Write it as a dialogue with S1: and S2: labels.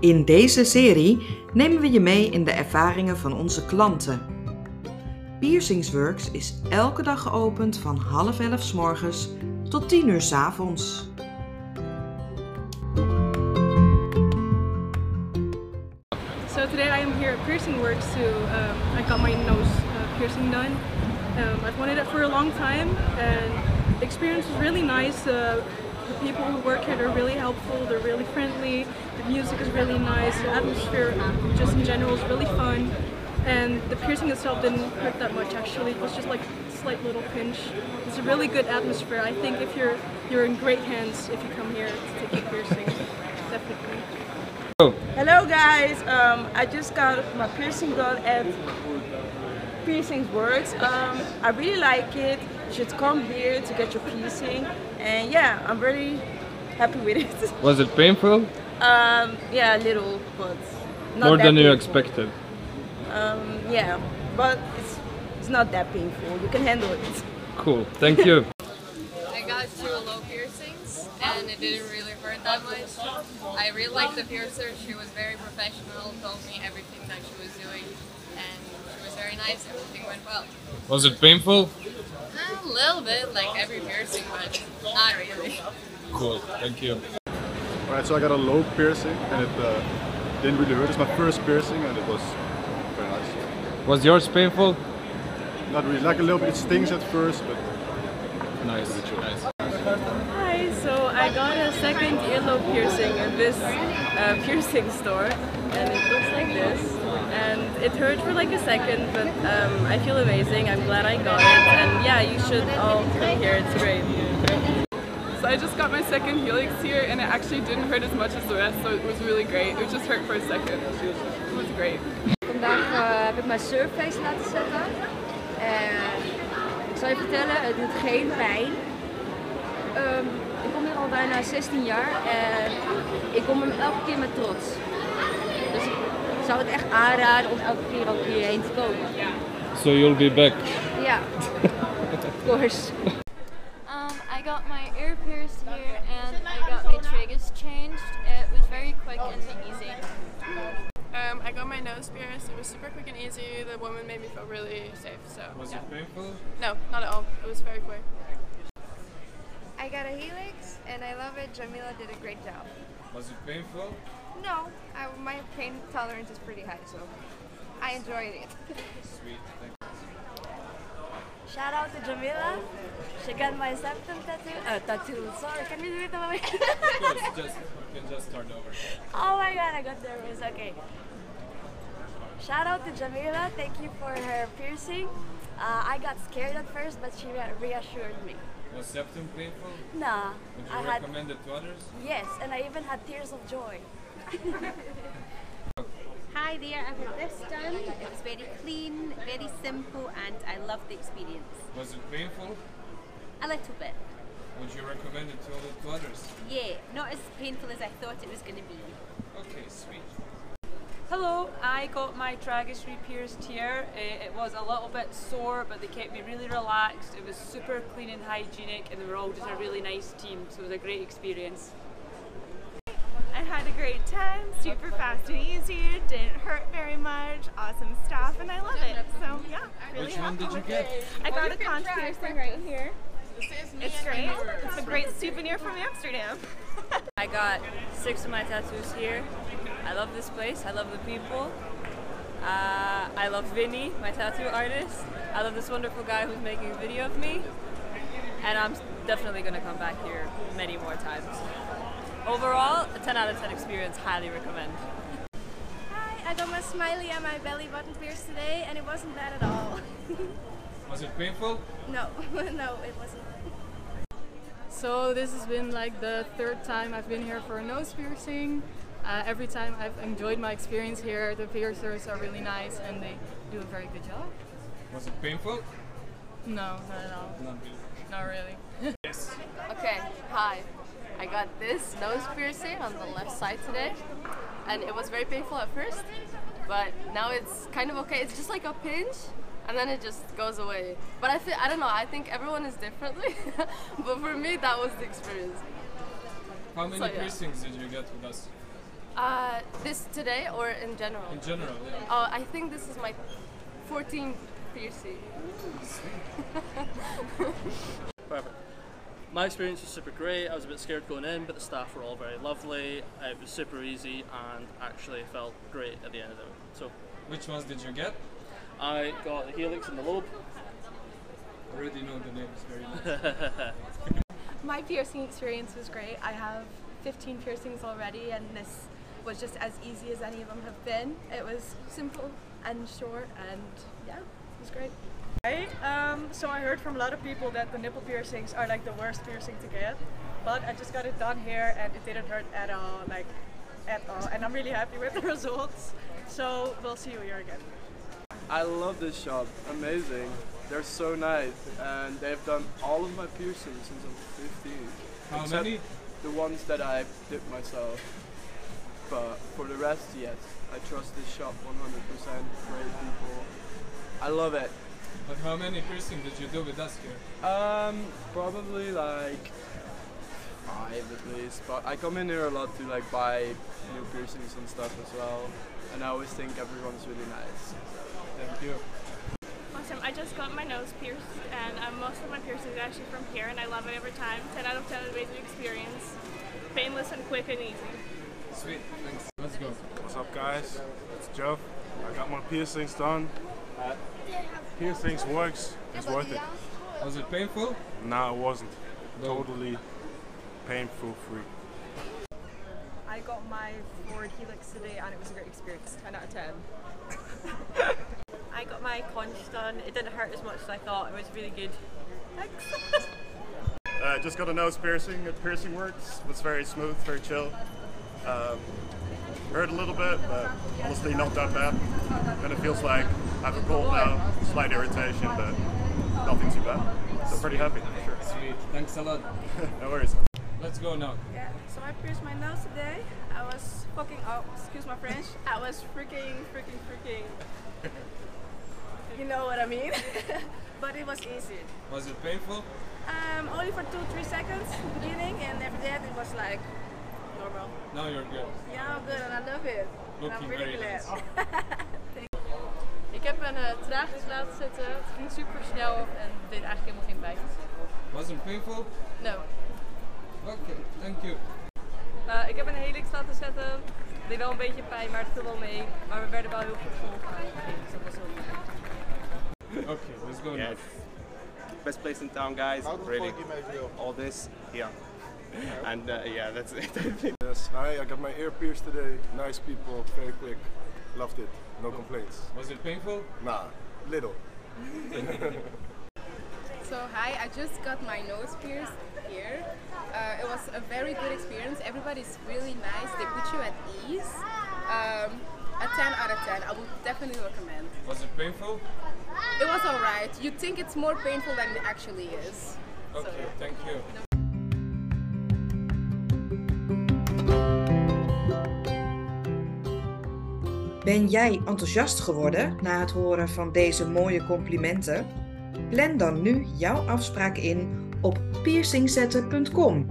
S1: In deze serie nemen we je mee in de ervaringen van onze klanten. Piercingsworks is elke dag geopend van half elf 's morgens tot 10 uur 's avonds.
S2: So today I am here at Piercing Works to, um, I got my nose uh, piercing done. Um, I've wanted it for a long time and the experience was really nice. Uh, the people who work here are really helpful, they're really friendly, the music is really nice, the atmosphere just in general is really fun. And the piercing itself didn't hurt that much actually, it was just like a slight little pinch. It's a really good atmosphere. I think if you're, you're in great hands if you come here to take a piercing, definitely.
S3: Hello guys, um, I just got my piercing done at Piercings Works. Um, I really like it. You should come here to get your piercing. And yeah, I'm very happy with it.
S4: Was it painful?
S3: um, yeah, a little, but not
S4: More
S3: that
S4: than you
S3: painful.
S4: expected.
S3: Um, yeah, but it's, it's not that painful. You can handle it.
S4: Cool. Thank you.
S5: I got two low piercings and it didn't really hurt that much. I really liked the piercer. She was very professional, told me everything that she was doing, and she was very nice. Everything went well.
S4: Was it painful?
S5: A little bit, like every piercing, but not really.
S4: Cool. Thank you.
S6: Alright, so I got a low piercing and it uh, didn't really hurt. It's my first piercing and it was very nice.
S4: Was yours painful?
S6: Not really, like a little bit, it stings at first, but
S4: Nice. Nice.
S7: Hi, so I got a second earlobe piercing at this uh, piercing store, and it looks like this. And it hurt for like a second, but um, I feel amazing. I'm glad I got it, and yeah, you should all come here. It's great.
S8: So I just got my second Helix here and it actually didn't hurt as much as the rest, so it was really great. It just hurt for a second. It was great.
S9: Vandaag eh, heb ik mijn surface laten zetten. En ik zal je vertellen, het doet geen pijn. Ehm, ik kom hier al bijna 16 jaar en ik kom hem elke keer met trots. Dus ik zou het echt aanraden om elke keer ook hierheen te komen.
S4: So you'll be back.
S9: Ja, of course.
S5: Um, I got my ear pierced here and I got my tragus changed. It was very quick and easy.
S8: Um, I got my nose pierced. It was super quick and easy. The woman made me feel really safe. So yeah.
S4: painful?
S8: no, not at all. It was very quick.
S10: I got a helix and I love it. Jamila did a great job.
S4: Was it painful?
S10: No, I, my pain tolerance is pretty high, so I enjoyed it.
S4: Sweet.
S10: Shout out to Jamila. She got my septum tattoo. Uh, tattoo. Sorry, can we do it over
S4: Thank you. Just, you can just start over.
S10: Oh my god, I got nervous. Okay. Shout out to Jamila. Thank you for her piercing. Uh, I got scared at first, but she rea- reassured me.
S4: Was septum painful?
S10: Nah, I had
S4: it to others?
S10: yes, and I even had tears of joy.
S9: Hi there, I've had this done. It was very clean, very simple, and I love the experience.
S4: Was it painful?
S9: A little bit.
S4: Would you recommend it to, other- to others?
S9: Yeah, not as painful as I thought it was going to be.
S4: Okay, sweet.
S7: Hello, I got my tragus re-pierced here. Eh, It was a little bit sore, but they kept me really relaxed. It was super clean and hygienic, and they were all just a really nice team, so it was a great experience.
S8: I had a great time. Super fast and easy. Didn't hurt very much. Awesome stuff, and I love it. So yeah,
S4: Which one did you get?
S8: I got a conch piercing right here. It's great. It's a great souvenir from Amsterdam.
S7: I got six of my tattoos here. I love this place. I love the people. Uh, I love Vinny, my tattoo artist. I love this wonderful guy who's making a video of me. And I'm definitely going to come back here many more times. Overall, a 10 out of 10 experience. Highly recommend.
S10: Hi, I got my smiley and my belly button pierced today, and it wasn't bad at all.
S4: Was it painful?
S10: No, no, it wasn't.
S8: So this has been like the third time I've been here for a nose piercing. Uh, every time I've enjoyed my experience here. The piercers are really nice and they do a very good job.
S4: Was it painful?
S8: No, not at all.
S4: Not really.
S8: Not really.
S5: Okay, hi. I got this nose piercing on the left side today, and it was very painful at first, but now it's kind of okay. It's just like a pinch, and then it just goes away. But I feel, I don't know, I think everyone is differently, but for me, that was the experience.
S4: How many
S5: So, yeah.
S4: piercings did you get with us?
S5: Uh, this today or in general?
S4: In general, yeah.
S5: Uh, I think this is my 14th piercing.
S11: Perfect. My experience was super great. I was a bit scared going in, but the staff were all very lovely. It was super easy and actually felt great at the end of it. So,
S4: which ones did you get?
S11: I got the helix and the lobe.
S4: Already know the names very
S11: well.
S10: My piercing experience was great. I have 15 piercings already, and this was just as easy as any of them have been. It was simple and short, and yeah, it was great.
S12: Right. Um, so I heard from a lot of people that the nipple piercings are like the worst piercing to get, but I just got it done here and it didn't hurt at all, like at all. And I'm really happy with the results. So we'll see you here again.
S7: I love this shop. Amazing. They're so nice, and they've done all of my piercings since I'm 15.
S4: How
S7: except
S4: many?
S7: The ones that I did myself. But for the rest, yes, I trust this shop 100%. Great people. I love it.
S4: But how many piercings did you do with us here?
S7: Um, probably like five at least. But I come in here a lot to like buy new piercings and stuff as well, and I always think everyone's really nice. So,
S4: thank you.
S2: Awesome. I just got my nose pierced, and um, most of my piercings are actually from here, and I love it every time. 10 out of 10 amazing experience. Painless and quick and easy.
S4: Sweet, thanks. Let's go.
S6: What's up, guys? It's Jeff. I got my piercings done. Uh, piercings works. It's worth it.
S4: Was it painful?
S6: Nah, it wasn't. Totally painful free.
S13: I got my forward helix today and it was a great experience. 10 out of 10.
S14: I got my conch done. It didn't hurt as much as I thought. It was really good. Thanks.
S15: Uh, just got a nose piercing at Piercing Works. It was very smooth, very chill. Um, hurt a little bit, but honestly not that bad. And it feels like I have a cold now, slight irritation, but nothing too bad. So pretty happy. Sure.
S4: Sweet, thanks a lot.
S15: no worries.
S4: Let's go now.
S2: Yeah, so I pierced my nose today. I was fucking up, excuse my French. I was freaking, freaking, freaking. You know what I mean? but it was easy.
S4: Was it painful?
S2: Um, only for two, three seconds in the beginning, and after that it was like normal.
S4: Now you're good.
S2: Yeah, I'm good, and I love it. and
S4: Looking
S2: I'm really
S4: very
S2: glad.
S16: Ik heb een eh, traagjes laten zitten. Het ging super snel en deed eigenlijk helemaal geen pijn.
S4: Was it painful?
S16: No.
S4: Okay, thank you.
S17: Eh, ik heb een helix laten zetten. Het deed wel een beetje pijn, maar het viel wel mee. Maar we werden wel heel goed volgehouden. Dus dat was heel goed.
S4: okay, let's go
S18: Yes. Best place in town, guys. Really. All this here. And uh, yeah, that's it.
S19: Yes, hi, I got my ear pierced today. Nice people, very quick. Loved it. No complaints.
S4: Was it painful?
S19: Nah, little.
S20: So hi, I just got my nose pierced here. Uh, it was a very good experience. Everybody's really nice. They put you at ease. Um, a 10 out of 10. I would definitely recommend.
S4: Was it painful?
S20: It was alright. You think it's more painful than it actually is.
S4: Okay, thank you.
S1: Ben jij enthousiast geworden na het horen van deze mooie complimenten? Plan dan nu jouw afspraak in op piercingzetten.com.